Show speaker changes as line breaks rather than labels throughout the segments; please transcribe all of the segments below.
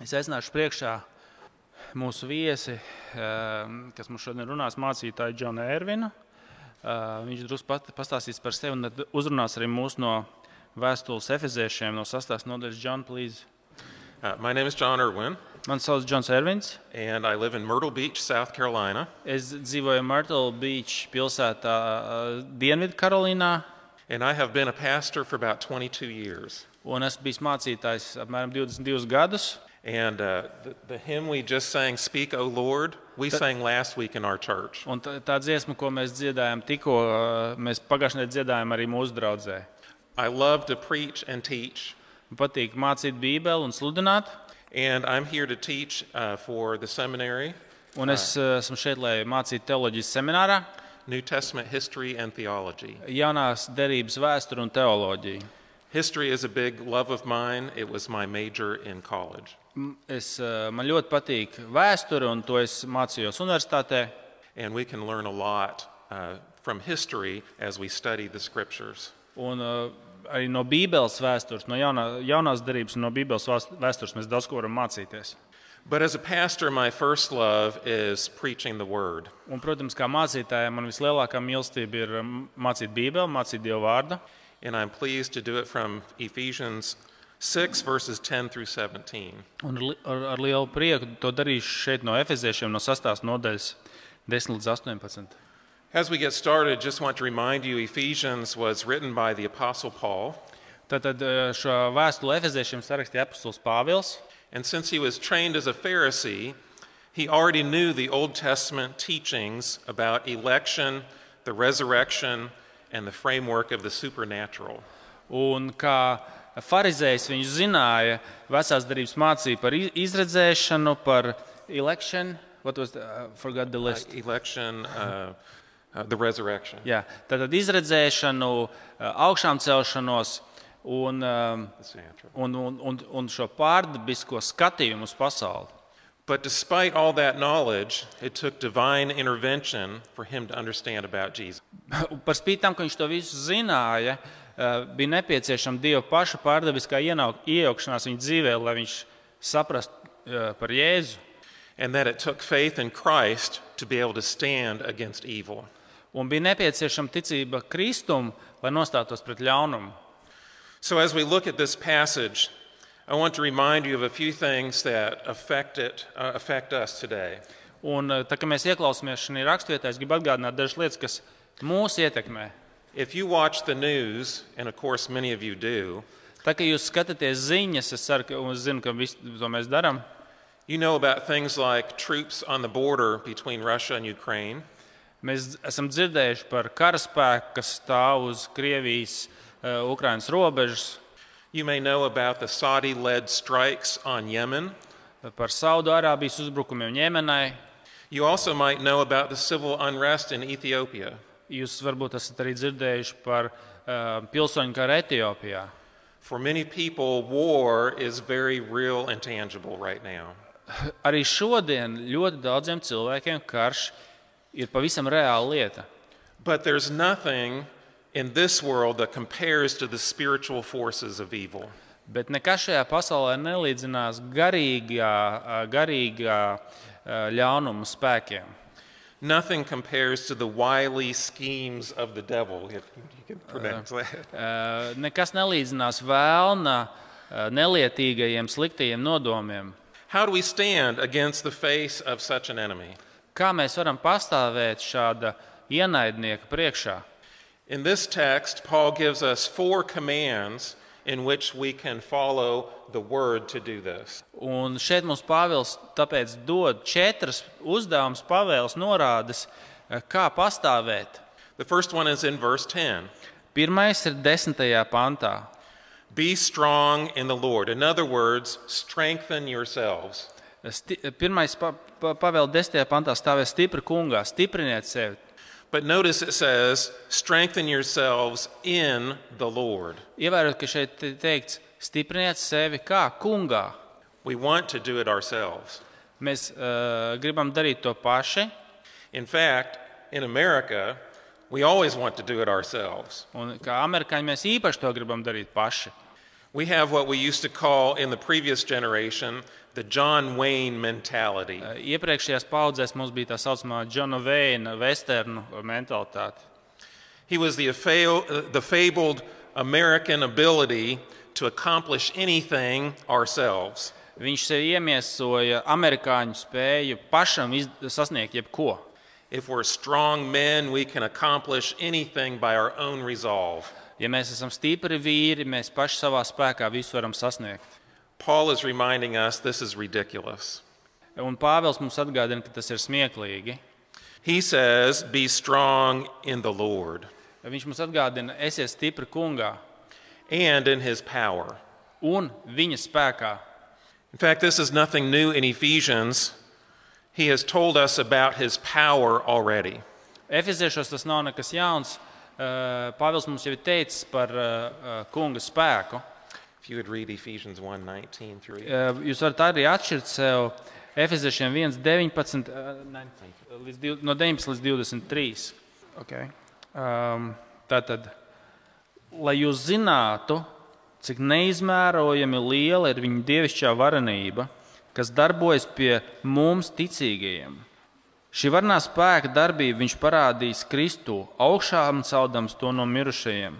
Es aicināšu priekšā mūsu viesi, ehm, kas mums šodien runās, mācītāju Džona Ervina. Ehm, Viņš drusku pat- pastāstīs par sevi un tad uzrunās arī mūs no vēstules efeziešiem, no sastāvdaļas nodaļas. John, please.
Uh, my name is John Irwin,
Mani sauc Džons Ervins.
and I live in Myrtle Beach, South Carolina.
Es dzīvoju Myrtle Beach pilsētā, ehm, Dienvidkarolīnā,
And I have been a pastor for about 22 years.
un esmu bijis mācītājs apmēram 22 gadus.
And uh, the, the hymn we just sang, Speak, O Lord, we sang last week in our church.
Un tā, tā dziesma, ko mēs dziedājām tikko, eh, mēs pagājušajā nedēļā dziedājām arī mūsu draugzē.
I love to preach and teach,
Man patīk mācīt Bībeli un sludināt.
and I'm here to teach uh, for the seminary
Un es eh, esmu šeit, lai mācītu teoloģijas seminārā,
New Testament history and theology.
jaunās derības vēsturi un teoloģiju.
History is a big love of mine, it was my major in college.
M- Es, eh, man ļoti patīk vēsture, un to es mācījos universitātē.
And we can learn a lot uh, from history as we study the scriptures.
Un, eh, arī no Bībeles vēstures, no jaunā, jaunās derības un no Bībeles vēst- vēstures mēs daudz ko varam mācīties.
But as a pastor, my first love is preaching the word.
Un, protams, kā mācītājai man vislielākā mīlestība ir mm, mācīt Bībeli, mācīt Dieva vārdu.
And I'm pleased to do it from Ephesians 6, verses 10 through 17.
Un ar, li- ar, ar lielu prieku to darīšu šeit no Efeziešiem, no 6. nodaļas, 10 līdz 18.
As we get started, just want to remind you Ephesians was written by the Apostle Paul.
Tātad eh, šo vēstuli Efeziešiem sarakstīja apustulis Pāvils.
And since he was trained as a Pharisee, he already knew the Old Testament teachings about election, the resurrection, and the framework of the supernatural.
Un kā farizējs viņš zināja vecās darbības mācību par i- izredzēšanu, par elekšanu. What was the, uh, forgot the list?
Election, uh, uh, the resurrection.
Jā, tātad izredzēšanu, eh, augšām celšanos un, um,
the supernatural.
un, un, un, un šo pārdabisko skatījumu uz pasauli.
But despite all that knowledge, it took divine intervention for him to understand about Jesus.
Par spīti tam, ka viņš to visu zināja, eh, bija nepieciešama Dieva paša pārdabiskā ienau- iejaukšanās viņa dzīvē, lai viņš saprastu eh, par Jēzu.
And that it took faith in Christ to be able to stand against evil.
Un bija nepieciešama ticība Kristum, lai nostātos pret ļaunumu.
So, as we look at this passage, I want to remind you of a few things that affect, it, uh, affect us today.
Un, eh, tā kā mēs ieklausāmies šajā raksturvietā, es gribu atgādināt dažas lietas, kas mūs ietekmē.
If you watch the news, and of course many of you do,
Tā kā jūs skatāties ziņas, es, ceru, ka, un es zinu, ka visu to mēs darām.
you know about things like troops on the border between Russia and Ukraine,
Mēs esam dzirdējuši par karaspēku, kas stāv uz Krievijas, eh, Ukrainas robežas.
You may know about the Saudi led strikes on Yemen.
par Saudārābijas uzbrukumiem Jemenai.
You also might know about the civil unrest in Ethiopia.
Jūs varbūt esat arī dzirdējuši par uh, pilsoņu karu Etiopijā.
For many people, war is very real and tangible right now.
Arī šodien ļoti daudziem cilvēkiem karš ir pavisam reāla lieta.
But there's nothing in this world that compares to the spiritual forces of evil.
Bet nekas šajā pasaulē nelīdzinās garīgā, ā, garīgā ā, ļaunuma spēkiem.
Nothing compares to the wily schemes of the devil, if you can pronounce that.
Ā, Eh, Nekas nelīdzinās vēlna, ā, nelietīgajiem, sliktajiem nodomiem.
How do we stand against the face of such an enemy?
Kā mēs varam pastāvēt šāda ienaidnieka priekšā?
In this text, Paul gives us four commands in which we can follow the word to do this.
Un šeit mums Pāvils tāpēc dod četras uzdevumus, pavēles, norādes, eh, kā pastāvēt.
The first one is in verse 10
Pirmais ir desmitajā pantā.
Be strong in the Lord. In other words, strengthen yourselves.
Sti pirmais pa pa pavēle desmitajā pantā stāvēs stipri kungā, stipriniet sevi.
But notice it says, strengthen yourselves in the Lord.
Ievērot, ka šeit te- teikts, stipriniet sevi kā kungā.
We want to do it ourselves.
Mēs uh, gribam darīt to paši,
In fact, in America, we always want to do it ourselves.
un kā amerikāņi mēs īpaši to gribam darīt paši.
We have what we used to call in the previous generation the John Wayne mentality.
Eh, Iepriekšējās paudzēs mums bija tā saucamā Džona Veina vesternu mentalitāte.
He was the, affail, uh, the fabled American ability to accomplish anything ourselves.
Viņš sev iemiesoja amerikāņu spēju pašam iz, sasniegt jebko.
If we're strong men, we can accomplish anything by our own resolve.
Ja mēs esam stipri vīri, mēs paši savā spēkā visu varam sasniegt.
Paul is reminding us this is ridiculous.
Un Pāvils mums atgādina, ka tas ir smieklīgi.
He says, Be strong in the Lord
Viņš mums atgādina, esiet stipri kungā
and in his power.
un viņa spēkā.
In fact, this is nothing new in Ephesians. He has told us about his power already.
Efeziešos tas nav nekas jauns. Eh, Pāvils mums jau ir teicis par eh, eh, kunga spēku.
If you would read Ephesians 1 19 through
Eh, Jūs varat arī atšķirt sev Efeziešiem 1, 19, eh, 19, līdz div- no 19 līdz 23. Okay. Um, Tātad, lai jūs zinātu, cik neizmērojami liela ir viņa dievišķā varenība, kas darbojas pie mums ticīgajiem. Šī varnā spēka darbība viņš parādīs Kristu, augšām celdams to no mirušajiem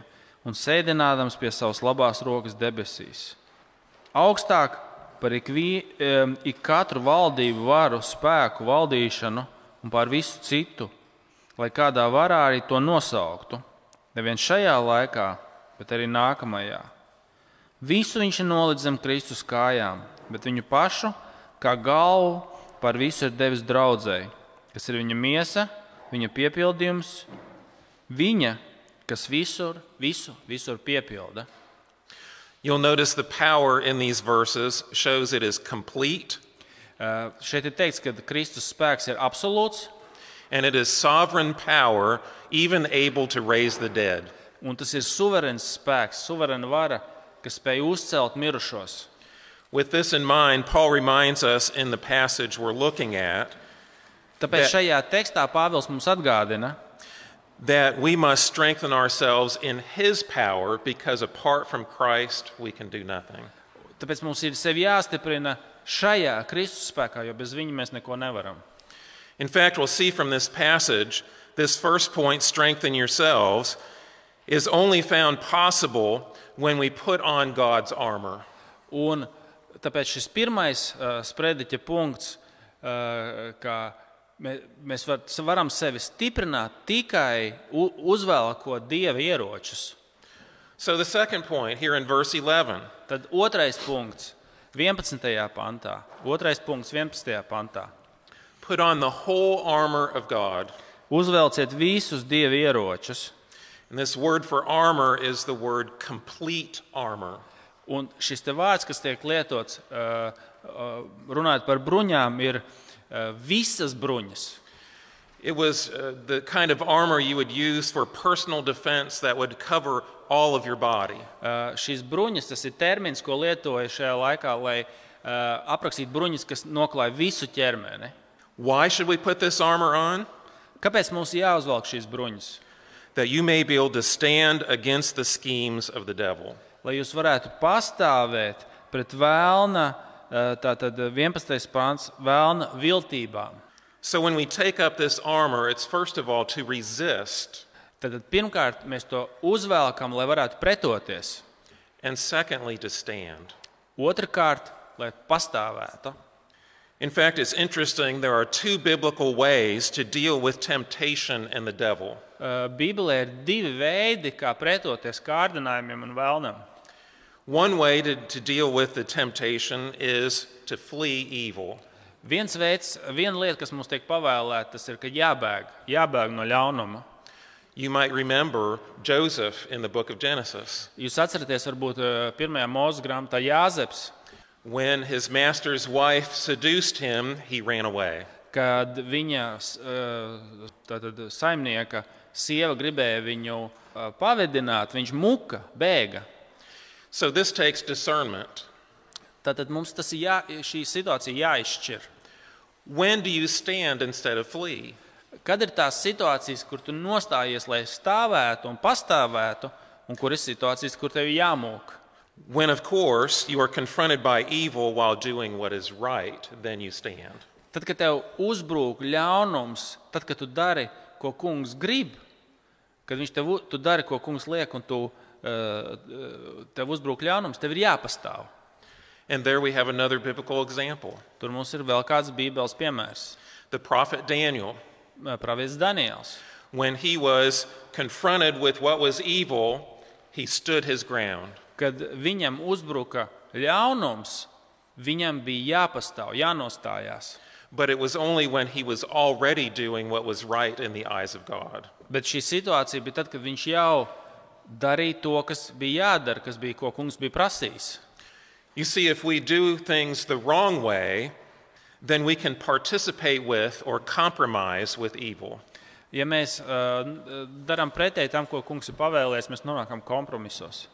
un sēdinādams pie savas labās rokas debesīs augstāk par ikvi, em, ik katru valdību, varu, spēku, valdīšanu un par visu citu, lai kādā varā arī to nosauktu. Nevien šajā laikā, bet arī nākamajā. Visu viņš ir nolicis zem Kristus kājām, bet viņu pašu, kā galvu, par visu ir devis draudzēji, kas ir viņa miesa, viņa piepildījums, viņa, kas visur, visu, visur piepilda.
You'll notice the power in these verses shows it is complete
Uh, šeit ir teikts, ka Kristus spēks ir absolūts,
and it is sovereign power, even able to raise the dead.
un tas ir suverēns spēks, suverēna vara, kas spēj uzcelt mirušos.
With this in mind, Paul reminds us in the passage we're looking at
Tāpēc
Bet-
šajā tekstā Pāvils mums atgādina,
that we must strengthen ourselves in his power because apart from Christ, we can do nothing.
tāpēc mums ir sevi jāstiprina šajā Kristus spēkā, jo bez viņa mēs neko nevaram.
In fact, we'll see from this passage, this first point, strengthen yourselves, is only found possible when we put on God's armor.
Un tāpēc šis pirmais uh, sprediķa punkts, uh, ka mē- mēs var, varam sevi stiprināt tikai u- uzvēlkot dieva ieročus.
So, the second point here in verse 11
Tad otrais punkts, 11. pantā. Otrais punkts, 11. pantā.
put on the whole armor of God.
Uzvelciet visus dieva ieročus.
And this word for armor is the word complete armor.
Un šis te vārds, kas tiek lietots, ā, ā, runājot par bruņām, ir ā, visas bruņas.
It was uh, the kind of armor you would use for personal defense that would cover all of your body.
Ā, Uh, Šīs bruņas, tas ir termins, ko lietoja šajā laikā, lai ā, aprakstītu bruņas, kas noklāj visu ķermeni.
Why should we put this armor on?
Kāpēc mums jāuzvelk šīs bruņas?
That you may be able to stand against the schemes of the devil.
lai jūs varētu pastāvēt pret vēlna, eh, tātad 11. pāns, vēlna viltībām.
So when we take up this armor, it's first of all to resist,
Tātad pirmkārt mēs to uzvelkam, lai varētu pretoties.
and secondly, to stand.
Otrakārt, lai pastāvētu.
In fact, it's interesting, there are two biblical ways to deal with temptation and the devil.
Eh, Bībelē ir divi veidi, kā pretoties kārdinājumiem un vēlnam.
One way to, to deal with the temptation is to flee evil.
Viens veids, viena lieta, kas mums tiek pavēlēta, tas ir, ka jābēg, jābēg no ļaunuma.
You might remember Joseph in the book of Genesis.
Jūs atceraties, varbūt eh, pirmajā mūža grāmatā Jāzeps,
When his master's wife seduced him, he ran away.
kad viņa s- eh, tātad, saimnieka sieva gribēja viņu eh, pavedināt, viņš muka, bēga.
So this takes discernment.
Tātad mums tas ir jā, šī situācija jāizšķir.
When do you stand instead of flee?
Kad ir tās situācijas, kur tu nostājies, lai stāvētu un pastāvētu, un kur ir situācijas, kur tev jāmūk?
When, of course, you are confronted by evil while doing what is right, then you stand.
Tad, kad tev uzbrūk ļaunums, tad, kad tu dari, ko kungs grib, kad viņš tev u- tu dari, ko kungs liek, un tu, eh, tev uzbrūk ļaunums, tev ir jāpastāv.
And there we have another biblical example.
Tur mums ir vēl kāds bībeles piemērs.
The prophet Daniel,
Pāvils Daniels.
when he was confronted with what was evil, he stood his ground.
Kad viņam uzbruka ļaunums, viņam bija jāpastāv, jānostājās.
But it was only when he was already doing what was right in the eyes of God.
Bet šī situācija bija tad, kad viņš jau darīja to, kas bija jādara, kas bija ko kungs bija prasījis.
You see, if we do things the wrong way, then we can participate with or compromise with evil.
Ja mēs uh, darām pretēji tam, ko kungs ir pavēlējis, mēs nonākam kompromisos.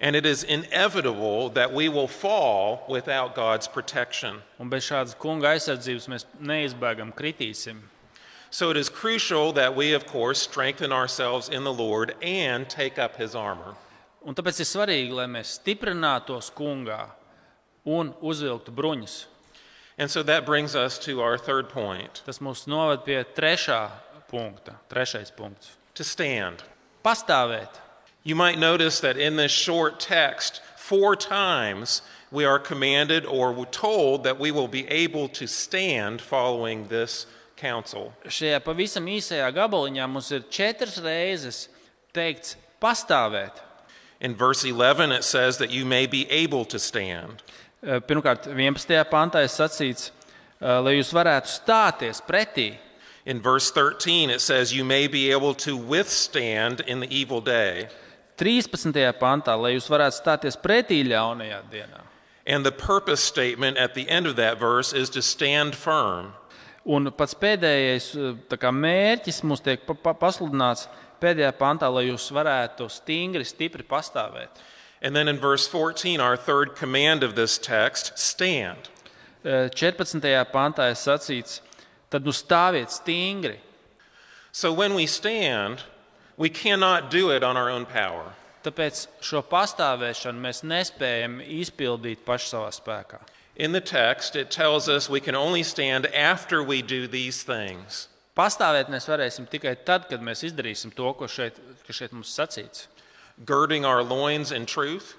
And it is inevitable that we will fall without God's protection.
Un bez šādas kunga aizsardzības mēs neizbēgam, kritīsim.
So it is crucial that we, of course, strengthen ourselves in the Lord and take up his armor.
Un tāpēc ir svarīgi, lai mēs stiprinātos kungā un uzvilktu bruņus.
And so that brings us to our third point
Tas mūs noved pie trešā punkta, trešais punkts.
to stand.
Pastāvēt.
You might notice that in this short text, four times we are commanded or told that we will be able to stand following this counsel.
Šajā pavisam īsajā gabaliņā mums ir četras reizes teikts pastāvēt.
In verse 11, it says that you may be able to stand.
Eh, Pirmkārt, 11. pantā ir sacīts, eh, lai jūs varētu stāties pretī.
In verse 13, it says you may be able to withstand in the evil day.
13. pantā, lai jūs varētu stāties pretī ļaunajā dienā.
And the purpose statement at the end of that verse is to stand firm.
Un pats pēdējais eh, tā kā, mērķis mums tiek pa pa pasludināts pēdējā pantā, lai jūs varētu stingri, stipri pastāvēt.
And then in verse 14, our third command of this text stand.
Eh, 14. pantā ir sacīts, tad nu stāviet stingri.
So when we stand, we cannot do it on our own power.
Tāpēc šo pastāvēšanu mēs nespējam izpildīt paši savā spēkā.
In the text, it tells us we can only stand after we do these things.
Pastāvēt mēs varēsim tikai tad, kad mēs izdarīsim to, ko šeit, kas šeit mums sacīts.
Girding our loins in truth,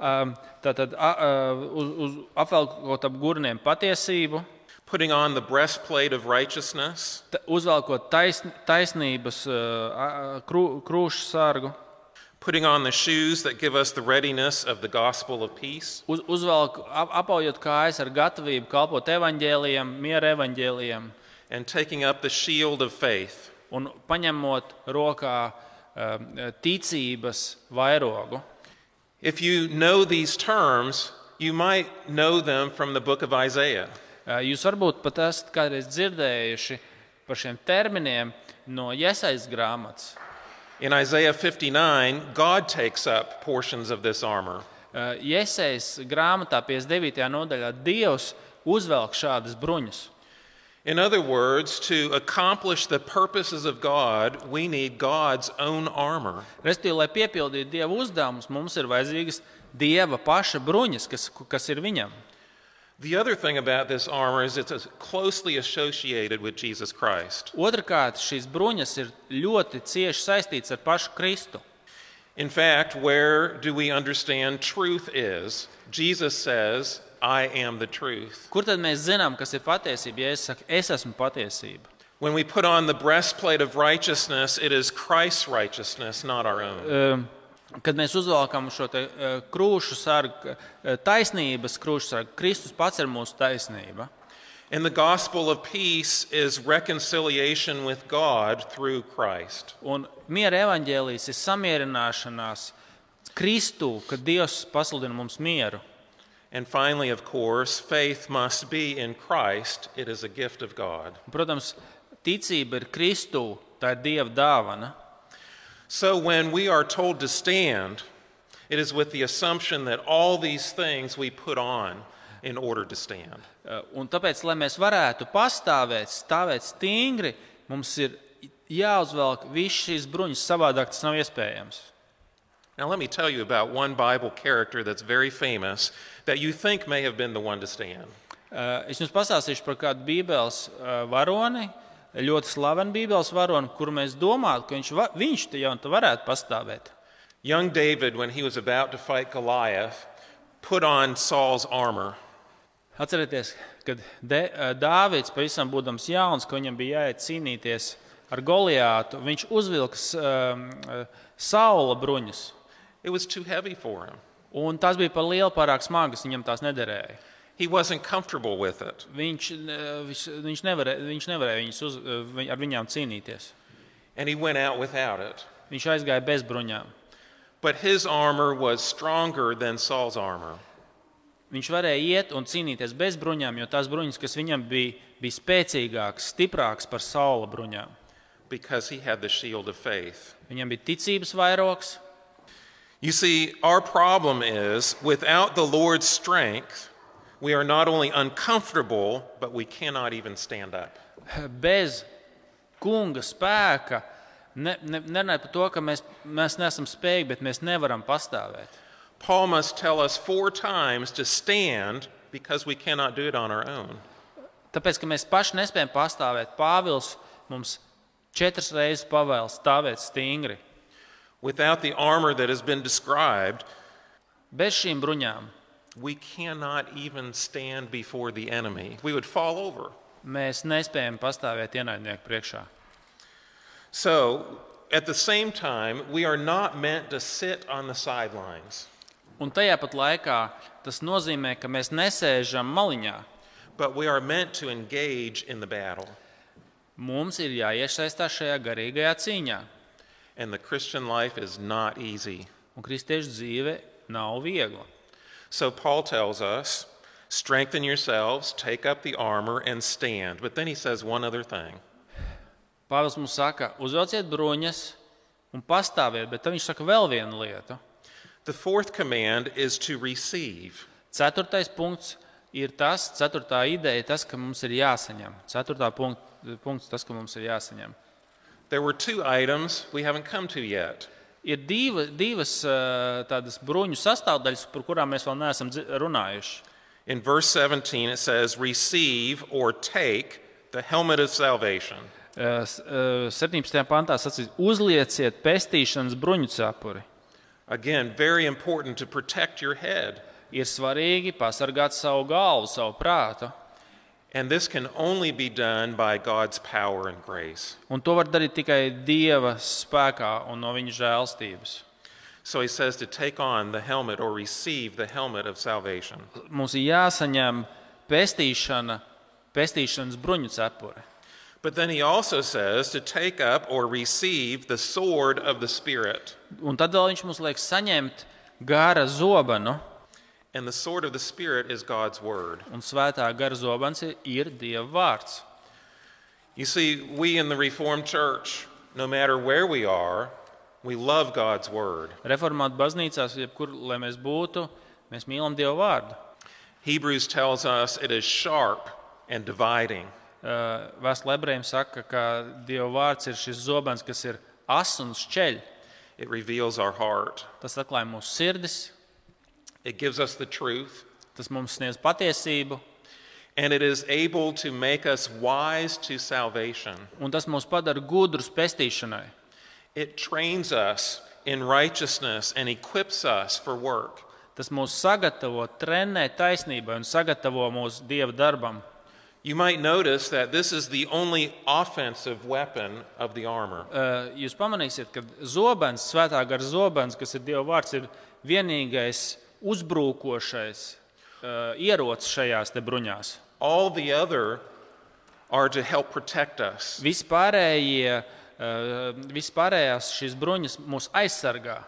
Um, Tātad a- a- uz, uz apvelkot ap gurniem patiesību,
putting on the breastplate of righteousness,
ta- uzvelkot taisn, taisnības uh, a- a- krū, krūšu sargu,
putting on the shoes that give us the readiness of the gospel of peace,
uz, uzvelk, ap, apaujot kājas ar gatavību kalpot evaņģēliem, miera evaņģēliem
and taking up the shield of faith.
un paņemot rokā um, ticības vairogu.
If you know these terms, you might know them from the book of Isaiah.
Uh, Jūs varbūt pat esat kādreiz dzirdējuši par šiem terminiem no iesaistas grāmatas.
In Isaiah 59, God takes up portions of this armor.
Iesaistas Eh, grāmatā 59. nodaļā Dievs uzvelk šādas bruņas.
In other words, to accomplish the purposes of God, we need God's own armor.
Respektīvi, lai piepildītu Dieva uzdevumus, mums ir vajadzīgas Dieva paša bruņas, kas, kas ir viņam.
The other thing about this armor is it's closely associated with Jesus Christ.
Otrakārt, šīs bruņas ir ļoti cieši saistītas ar pašu Kristu.
In fact, where do we understand truth is? Jesus says, I am the truth.
Kur tad mēs zinām, kas ir patiesība? Ja es saku, es esmu patiesība.
When we put on the breastplate of righteousness, it is Christ's righteousness, not our own.
Um, Kad mēs uzvelkam šo te, uh, krūšu sargu, uh, taisnības krūšu sargu, Kristus pats ir mūsu taisnība.
And the gospel of peace is reconciliation with God through Christ.
Un miera evaņģēlijas ir samierināšanās Kristū, kad Dievs pasludina mums mieru.
And finally, of course, faith must be in Christ. It is a gift of God.
Un, protams, ticība ir Kristū, tā ir Dieva dāvana.
So when we are told to stand, it is with the assumption that all these things we put on in order to stand.
Uh, Un tāpēc, lai mēs varētu pastāvēt, stāvēt stingri, mums ir jāuzvelk visas šīs bruņas, savādāk tas nav iespējams.
Now, let me tell you about one Bible character that's very famous that you think may have been the one to stand.
Uh, Es jums pastāstīšu par kādu Bībeles uh, varoni, ļoti slavenu Bībeles varoni, kuru mēs domājam, ka viņš, va- viņš te jau te varētu pastāvēt.
Young David, when he was about to fight Goliath, put on Saul's armor.
Atcerieties, kad De, uh, Dāvids pavisam būdams jauns, ka viņam bija jāiet cīnīties ar Goliātu, viņš uzvilks um, uh, saula bruņas.
It was too heavy for him.
Un tās bija par lielu, pārāk smagas, viņam tās nederēja.
He wasn't comfortable with it.
Viņš, eh, viņš, viņš nevarēja, viņš nevarēja viņus uz, eh, vi- ar viņām cīnīties.
and he went out without it.
Viņš aizgāja bez bruņām.
But his armor was stronger than Saul's armor.
Viņš varēja iet un cīnīties bez bruņām, jo tās bruņas, kas viņam bija, bija spēcīgākas, stiprākas par saula bruņām.
because he had the shield of faith.
Viņam bija ticības vairogs.
You see, our problem is without the Lord's strength, we are not only uncomfortable, but we cannot even stand up.
Bez kunga spēka ne- ne- nerunājot ne, par to, ka mēs, mēs neesam spējīgi, bet mēs nevaram pastāvēt.
Paul must tell us four times to stand because we cannot do it on our own.
Tāpēc, ka mēs paši nespējam pastāvēt, Pāvils mums četras reizes pavēla stāvēt stingri.
Without the armor that has been described,
Bez šīm bruņām
we cannot even stand before the enemy. We would fall over.
mēs nespējam pastāvēt ienaidnieku priekšā.
So, at the same time, we are not meant to sit on the sidelines,
Un tajā pat laikā tas nozīmē, ka mēs nesēžam maliņā.
but we are meant to engage in the battle.
Mums ir jāiesaistās šajā garīgajā cīņā.
And the Christian life is not easy.
Un kristiešu dzīve nav viegla.
So, Paul tells us strengthen yourselves, take up the armor, and stand. But then he says one other thing
Pāvils mums saka, uzvelciet bruņas un pastāviet, bet tad viņš saka vēl vienu lietu.
the fourth command is to receive.
Ceturtais punkts ir tas, ceturtā ideja, tas, ka mums ir jāsaņem. Ceturtā punkt, punkts, tas, ka mums ir jāsaņem.
There were two items we haven't come to yet.
Ir diva, divas eh, tādas bruņu sastāvdaļas, par kurām mēs vēl neesam dzi- runājuši.
In verse 17, it says, Receive or take the helmet of salvation.
Eh, s- eh, 17. pantā sacīts, uzlieciet pestīšanas bruņu cepuri.
Again, very important to protect your head.
Ir svarīgi pasargāt savu galvu, savu prātu.
And this can only be done by God's power and grace.
Un to var darīt tikai Dieva spēkā un no viņa žēlstības.
So he says to take on the helmet or receive the helmet of salvation.
Mums ir jāsaņem pestīšana, pestīšanas bruņu cepure.
But then he also says to take up or receive the sword of the Spirit.
Un tad vēl viņš mums liek saņemt gara zobenu,
And the sword of the Spirit is God's word.
un svētā gara zobens ir- ir Dieva vārds.
You see, we in the Reformed Church, no matter where we are, we love God's word.
Reformāta baznīcās, jebkur lai mēs būtu, mēs mīlam Dieva vārdu.
Hebrews tells us it is sharp and dividing.
Uh, Vēstule ebrejiem saka, ka Dieva vārds ir šis zobens, kas ir asins un šķeļ.
It reveals our heart.
Tas atklāja mūsu sirdis,
It gives us the truth,
tas mums sniedz patiesību,
and it is able to make us wise to salvation.
un tas mūs padara gudrus pestīšanai.
It trains us in righteousness and equips us for work.
Tas mūs sagatavo, trenē taisnībai un sagatavo mūsu Dieva darbam.
You might notice that this is the only offensive weapon of the armor.
Uh, jūs pamanīsiet, ka zobens, svētā gara zobens, kas ir Dieva vārds, ir vienīgais uzbrukošais uh, ierocis šajās te bruņās.
All the other are to help protect us.
Vispārējie, uh, vispārējās šīs bruņas mūs aizsargā,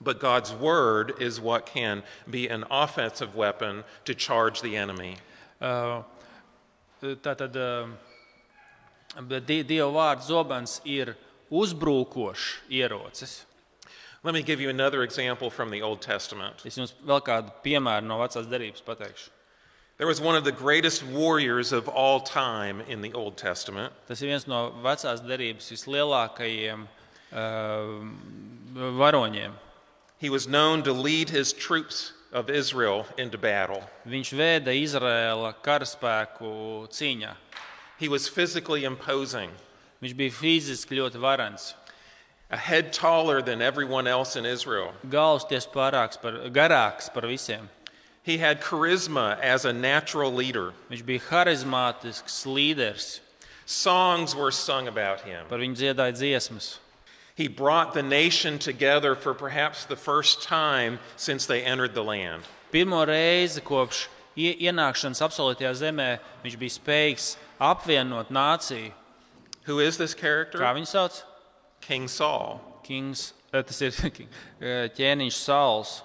But God's word is what can be an offensive weapon to charge the enemy.
Uh, Tātad uh, bet die- Dieva vārds zobens ir uzbrukošs ierocis.
Let me give you another example from the Old Testament.
Es jums vēl kādu piemēru no vecās derības pateikšu.
There was one of the greatest warriors of all time in the Old Testament.
Tas ir viens no vecās derības vislielākajiem uh, eh, varoņiem.
He was known to lead his troops of Israel into battle.
Viņš vēda Izraēla karaspēku cīņā.
He was physically imposing,
Viņš bija fiziski ļoti varants,
a head taller than everyone else in Israel.
galvsties pārāks par, garāks par visiem.
He had charisma as a natural leader.
Viņš bija harizmātisks līderis,
Songs were sung about him.
par viņu dziedāja dziesmas.
He brought the nation together for perhaps the first time since they entered the land.
Pirmo reizi kopš ie- ienākšanas absolūtajā zemē viņš bija spējīgs apvienot nāciju.
Who is this
Kā
character?
viņu sauc?
King Saul.
Kings, eh, tas ir ki- eh, ķēniņš Sauls.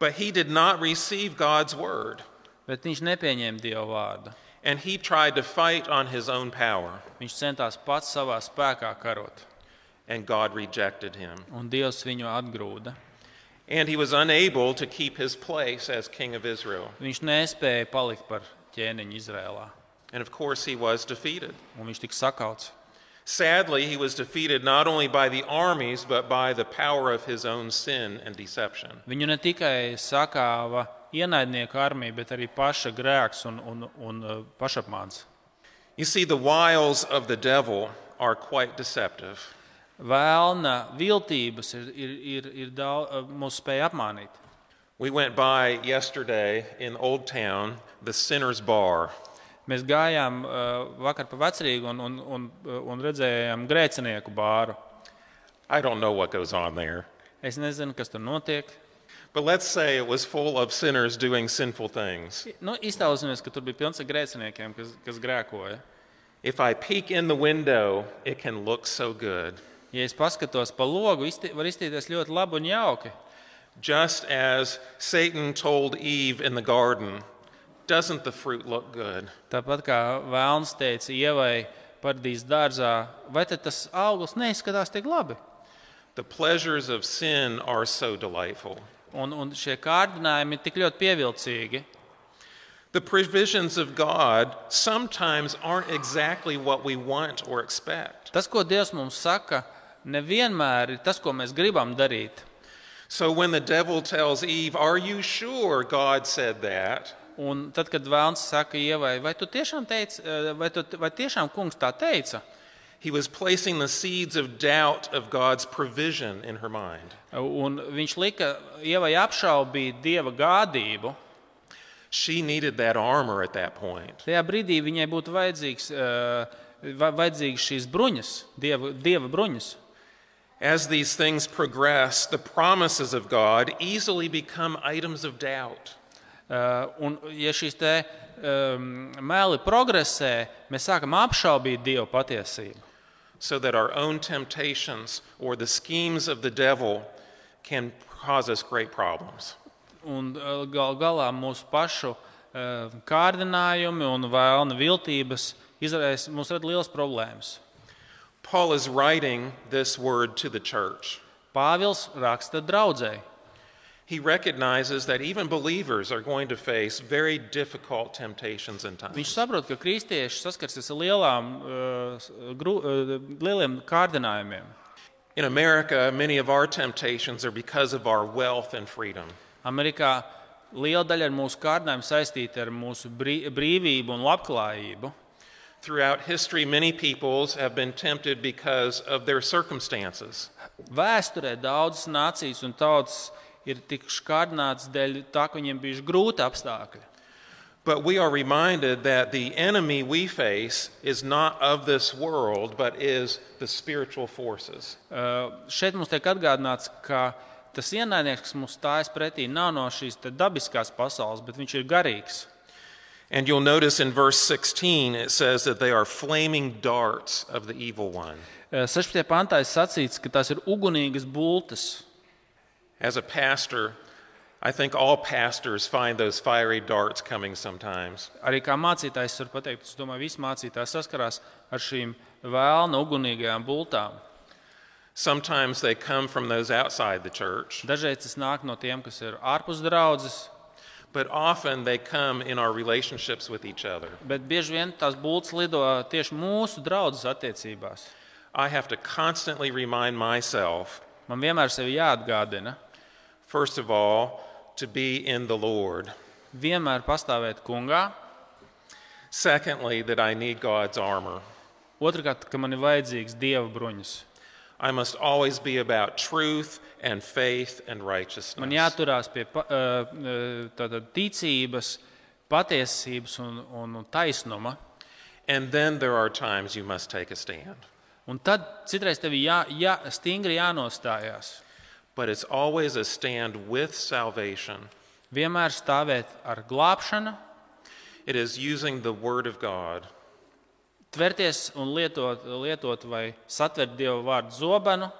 But he did not receive God's word,
Bet viņš nepieņēma dievu vārdu.
and he tried to fight on his own power,
Viņš centās pats savā spēkā karot,
and God rejected him.
un Dievs viņu atgrūda.
And he was unable to keep his place as king of Israel.
Viņš nespēja palikt par ķēniņu Izrēlā,
And of course, he was defeated.
un viņš tika sakauts.
Sadly, he was defeated not only by the armies, but by the power of his own sin and deception.
Viņu ne tikai sakāva ienaidnieku armija, bet arī paša grēks un, un, un eh, pašapmāns.
You see, the wiles of the devil are quite deceptive.
Vēlna viltības ir, ir, ir, ir daudz, mūs spēja apmānīt.
We went by yesterday in Old Town, the Sinner's Bar.
Mēs gājām uh, vakar pa vecrīgu un, un, un, un redzējām grēcinieku bāru.
I don't know what goes on there,
Es nezinu, kas tur notiek.
but let's say it was full of sinners doing sinful things.
Nu, Iztēlosimies, ka tur bija pilns ar grēciniekiem, kas, kas grēkoja.
If I peek in the window, it can look so good.
Ja es paskatos pa logu, izti, var izstīties ļoti labi un jauki.
Just as Satan told Eve in the garden, doesn't the fruit look good?
Tāpat kā Vēlns teica Ievai paradīzes dārzā, vai tad tas augurs neizskatās tik labi?
The pleasures of sin are so delightful.
Un, un šie kārdinājumi ir tik ļoti pievilcīgi.
The provisions of God sometimes aren't exactly what we want or expect.
Tas, ko Dievs mums saka, nevienmēr ir tas, ko mēs gribam darīt.
So when the devil tells Eve, Are you sure God said that?
Un tad, kad Vēlns saka, Ievai, vai tu tiešām teici, eh, vai, tu, vai tiešām kungs tā teica?
He was placing the seeds of doubt of God's provision in her mind.
Un viņš lika Ievai apšaubīt dieva gādību.
She needed that armor at that point.
Tajā brīdī viņai būtu vajadzīgs, eh, va- vajadzīgs šīs bruņas, dieva, dieva bruņas.
As these things progress, the promises of God easily become items of doubt.
Eh, Un, ja šīs te, um, meli progresē, mēs sākam apšaubīt dieva patiesību.
so that our own temptations or the schemes of the devil can cause us great problems.
Un eh, gal galā mūsu pašu eh, kārdinājumi un vēlna viltības izraisa mums rada liels problēmas.
Paul is writing this word to the church.
Pāvils raksta draudzēji.
He recognizes that even believers are going to face very difficult temptations and
Viņš
times.
saprot, ka kristieši saskarsies ar lielām, eh, s- gru- eh, lieliem kārdinājumiem.
In America, many of our temptations are because of our wealth and freedom.
Amerikā liela daļa no mūsu kārdinājumiem saistīta ar mūsu brī- brīvību un labklājību.
Throughout history, many peoples have been tempted because of their circumstances.
Vēsturē daudzas nācijas un tautas ir tikušas kārdinātas dēļ tā, ka viņiem bija grūti apstākļi.
But we are reminded that the enemy we face is not of this world, but is the spiritual forces.
Uh, šeit mums tiek atgādināts, ka tas ienaidnieks, kas mums stājas pretī, nav no šīs te dabiskās pasaules, bet viņš ir garīgs.
And you'll notice in verse 16, it says that they are flaming darts of the evil one.
Uh, 16. pantā ir sacīts, ka tās ir ugunīgas būtnes.
As a pastor, I think all pastors find those fiery darts coming sometimes.
Arī kā mācītājs var pateikt, es domāju, visi mācītāji saskarās ar šīm vēlna ugunīgajām būtām.
Sometimes they come from those outside the church,
Dažreiz tas nāk no tiem, kas ir ārpus draudzes,
but often they come in our relationships with each other.
bet bieži vien tās būtnes lido tieši mūsu draudzes attiecībās.
I have to constantly remind myself
Man vienmēr sevi jāatgādina,
First of all, to be in the Lord.
vienmēr pastāvēt kungā,
Secondly, that I need God's armor.
otrkārt, ka man ir vajadzīgs dieva bruņas.
I must always be about truth and faith and righteousness.
Man jāturās pie pa- ā, ā, tātad ticības, patiesības un, un, un taisnuma.
And then there are times you must take a stand.
Un tad citreiz tev ir jā, jā, stingri jānostājās.
But it's always a stand with salvation.
Vienmēr stāvēt ar glābšanu,
It is using the Word of God.
tverties un lietot, lietot vai satvert dievu vārdu zobenu.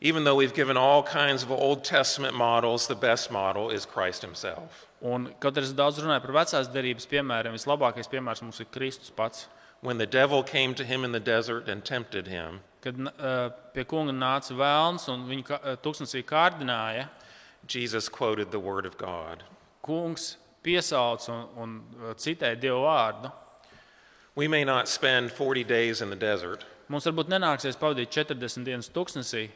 Even though we've given all kinds of Old Testament models, the best model is Christ Himself.
Un, kaut arī es daudz runāju par vecās derības piemēriem, vislabākais piemērs mums ir Kristus pats.
When the devil came to him in the desert and tempted him,
Kad uh, pie kunga nāca vēlns un viņu ka- ā, tūkstnesī kārdināja,
Jesus quoted the Word of God.
kungs piesauca un, un ā, citēja dievu vārdu.
We may not spend 40 days in the desert,
Mums varbūt nenāksies pavadīt 40 dienas tūkstnesī,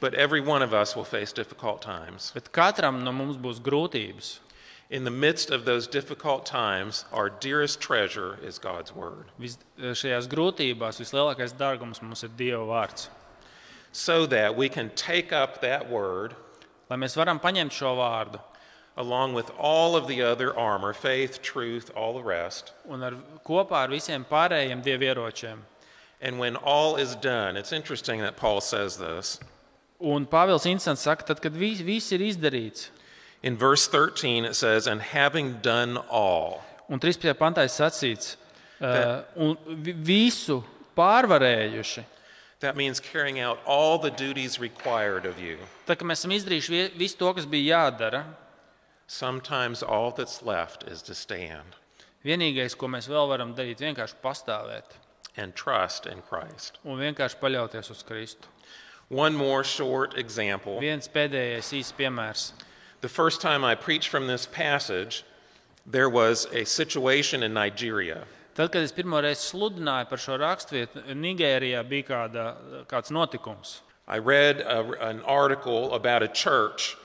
but every one of us will face difficult times.
bet katram no mums būs grūtības.
In the midst of those difficult times, our dearest treasure is God's Word,
Vis, ā, šajās grūtībās vislielākais dārgums mums ir dieva vārds.
so that we can take up that Word
Lai mēs varam paņemt šo vārdu
along with all of the other armor faith, truth, all the rest.
un ar, kopā ar visiem pārējiem dievieročiem.
And when all is done, it's interesting that Paul says this.
Un Pāvils Insants saka, tad, kad viss, viss ir izdarīts,
In verse 13, it says, And having done all,
un 13. pantā ir sacīts, uh, un vi- visu pārvarējuši.
that means carrying out all the duties required of you.
Tā kā mēs esam izdarījuši vie- visu to, kas bija jādara,
Sometimes all that's left is to stand
vienīgais, ko mēs vēl varam darīt, ir vienkārši pastāvēt
and trust in Christ.
un vienkārši paļauties uz Kristu.
One more short example.
Viens pēdējais īsts piemērs.
The first time I preached from this passage, there was a situation in Nigeria.
Tad, kad es pirmo reizi sludināju par šo raksturvietu, Nigērijā bija kāda, kāds notikums.
I read a, an article about a church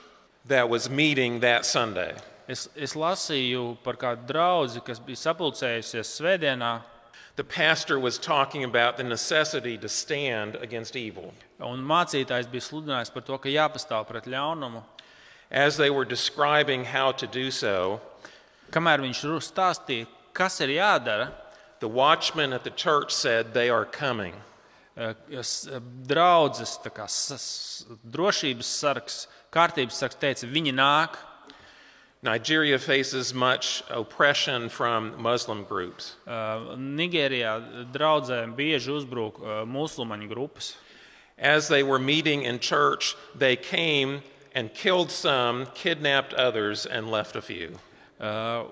that was meeting that Sunday.
Es, es lasīju par kādu draugu, kas bija sapulcējusies Svētdienā,
The pastor was talking about the necessity to stand against evil.
un mācītājs bija sludinājis par to, ka jāpastāv pret ļaunumu.
As they were describing how to do so,
Kamēr viņš ru- stāstīja, kas ir jādara,
the watchman at the church said, They are coming.
eh, s- draudzes tā kā s- s- drošības sargs, kārtības sargs teica, viņi nāk.
Nigeria faces much oppression from Muslim groups.
Eh, Nigērijā draudzēm bieži uzbrūk eh, musulmaņu grupas.
As they were meeting in church, they came and killed some, kidnapped others, and left a few.
Eh,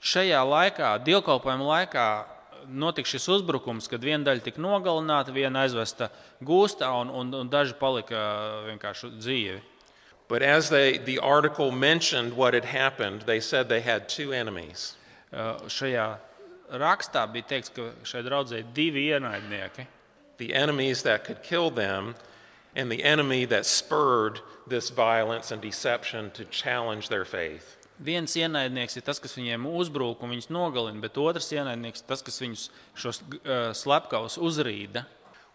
Šajā laikā, dievkalpojuma laikā, notika šis uzbrukums, kad viena daļa tika nogalināta, viena aizvesta gūstā un, un, un daži palika eh, vienkārši dzīvi.
But as they, the article mentioned what had happened, they said they had two enemies.
Uh, šajā rakstā bija teikts, ka šai draudzē ir divi ienaidnieki.
the enemies that could kill them, and the enemy that spurred this violence and deception to challenge their faith.
Viens ienaidnieks ir tas, kas viņiem uzbrūk un viņus nogalina, bet otrs ienaidnieks ir tas, kas viņus šos uh, slepkavus uzrīda.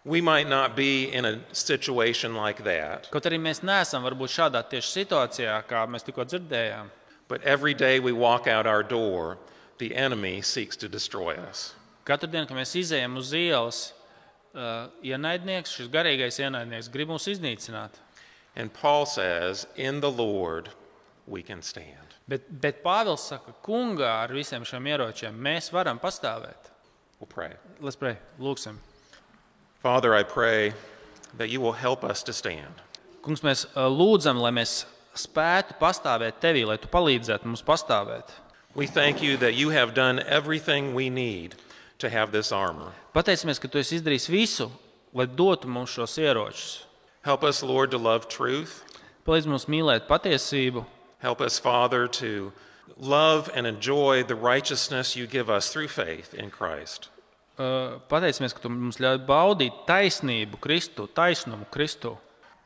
We might not be in a situation like that,
Kaut arī mēs neesam varbūt šādā tieši situācijā, kā mēs tikko dzirdējām,
but every day we walk out our door, the enemy seeks to destroy us.
katru dienu, kad mēs izējām uz ielas, uh, ienaidnieks, šis garīgais ienaidnieks, grib mūs iznīcināt.
And Paul says, In the Lord we can stand.
Bet, bet Pāvils saka, kungā ar visiem šiem ieročiem mēs varam pastāvēt.
We'll pray.
Let's pray, lūgsim!
Father, I pray that you will help us to stand.
Kungs, mēs ā, lūdzam, lai mēs spētu pastāvēt tevī, lai tu palīdzētu mums pastāvēt.
We thank you that you have done everything we need to have this armor.
Pateicamies, ka tu esi izdarījis visu, lai dotu mums šos ieročus.
Help us, Lord, to love truth.
Palīdz mums mīlēt patiesību,
Help us, Father, to love and enjoy the righteousness you give us through faith in Christ.
Ā, pateicamies, ka tu mums ļauj baudīt taisnību, Kristu, taisnumu Kristu.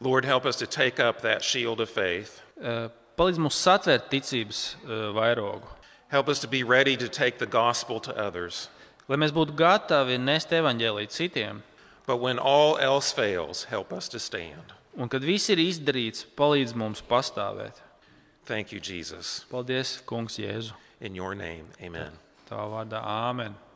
Lord, help us to take up that shield of faith.
Eh, Palīdz mums satvērt ticības eh, vairogu,
Help us to be ready to take the gospel to others.
lai mēs būtu gatavi nest evaņģēlīju citiem.
But when all else fails, help us to stand.
Un, kad viss ir izdarīts, palīdz mums pastāvēt.
Thank you, Jesus.
Paldies, Kungs, Jēzu.
In your name, amen.
Tavā vārdā, Āmen!